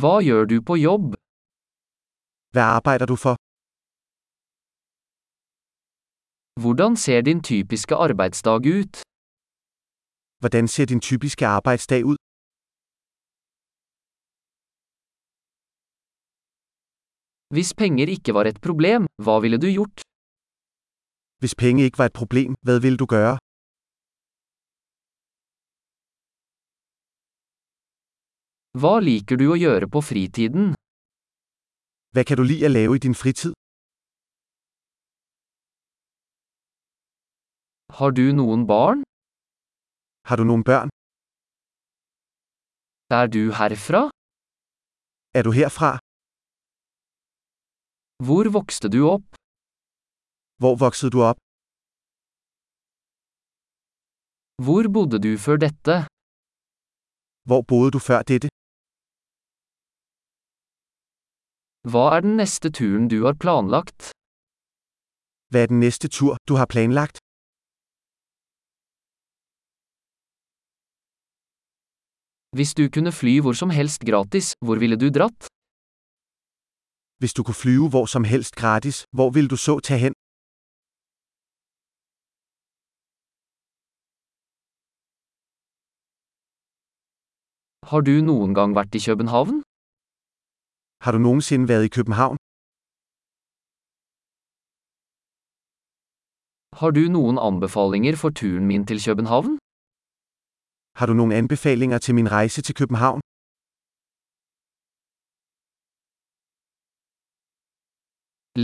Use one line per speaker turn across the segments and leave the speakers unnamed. Hva gjør du på jobb?
Hvad arbejder du for?
Hvordan ser din typiske arbeidsdag ut?
Hvordan ser din typiske arbejdsdag ud?
Hvis penger ikke var et problem, hva ville du gjort?
Hvis penge ikke var et problem, hvad ville du gøre?
Hva liker du å gjøre på fritiden?
Hvad kan du lide at lave i din fritid?
Har du noen barn?
Har du nogle børn?
Er du herfra?
Er du herfra?
Hvor vokste du opp?
Hvor voksede du op?
Hvor bodde du før dette?
Hvor boede du før dette?
Hva er den neste turen du har planlagt?
Hvad er den næste tur, du har planlagt?
Hvis du kunne fly hvor som helst gratis, hvor ville du dratt?
Hvis du kunne flyve hvor som helst gratis, hvor ville du så tage hen?
Har du noen gang vært i København?
Har du nogensinde været i København?
Har du noen anbefalinger for turen min til København?
Har du nogle anbefalinger til min rejse til København?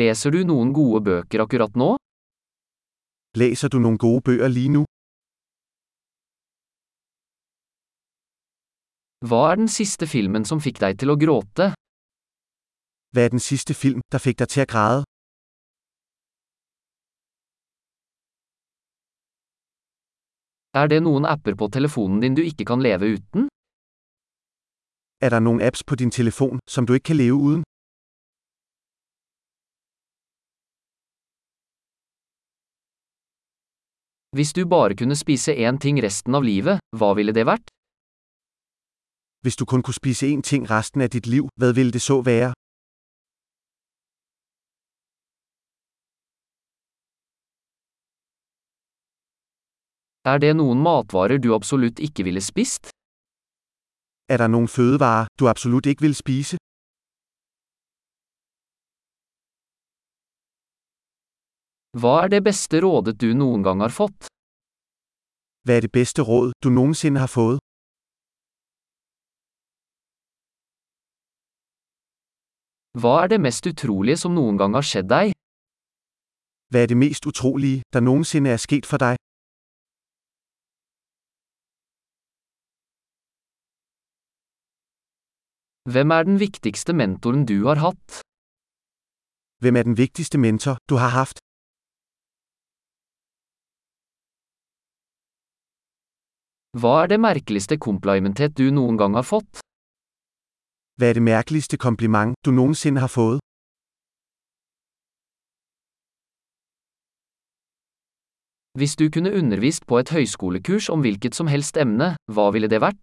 Leser du noen gode bøker akkurat nå?
Læser du nogle gode bøger lige nu?
Hva er den siste filmen som fikk deg til å gråte?
Hvad er den sidste film, der fik dig til at græde?
Er det noen apper på telefonen din du ikke kan leve uten?
Er der nogle apps på din telefon, som du ikke kan leve uden?
Hvis du bare kunne spise én ting resten av livet, hva ville det vært?
Hvis du kun kunne spise én ting resten af dit liv, hvad ville det så være?
Er det noen matvarer du absolutt ikke ville spist?
Er der nogle fødevarer, du absolut ikke vil spise?
Hva er det beste rådet du noen gang har fått?
Hvad er det bedste råd, du nogensinde har fået?
Hva er det mest utrolige som noen gang har skjedd deg?
Hvad er det mest utrolige, der nogensinde er sket for dig?
Hvem er den viktigste mentoren du har hatt?
Hvem er den vigtigste mentor, du har haft?
Hva er det merkeligste komplimentet du noen gang har fått?
Hvad er det mærkeligste kompliment, du nogensinde har fået?
Hvis du kunne undervist på et høyskolekurs om hvilket som helst emne, hva ville det vært?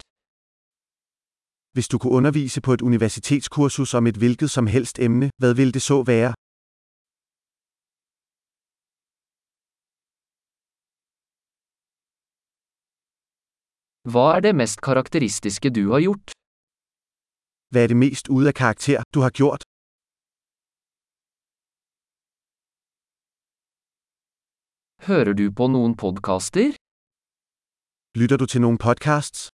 Hvis du kunne undervise på et universitetskursus om et hvilket som helst emne, hvad ville det så være?
Hva er det mest karakteristiske du har gjort?
Hvad er det mest ude af karakter, du har gjort?
Hører du på noen podkaster?
Lytter du til nogle podcasts?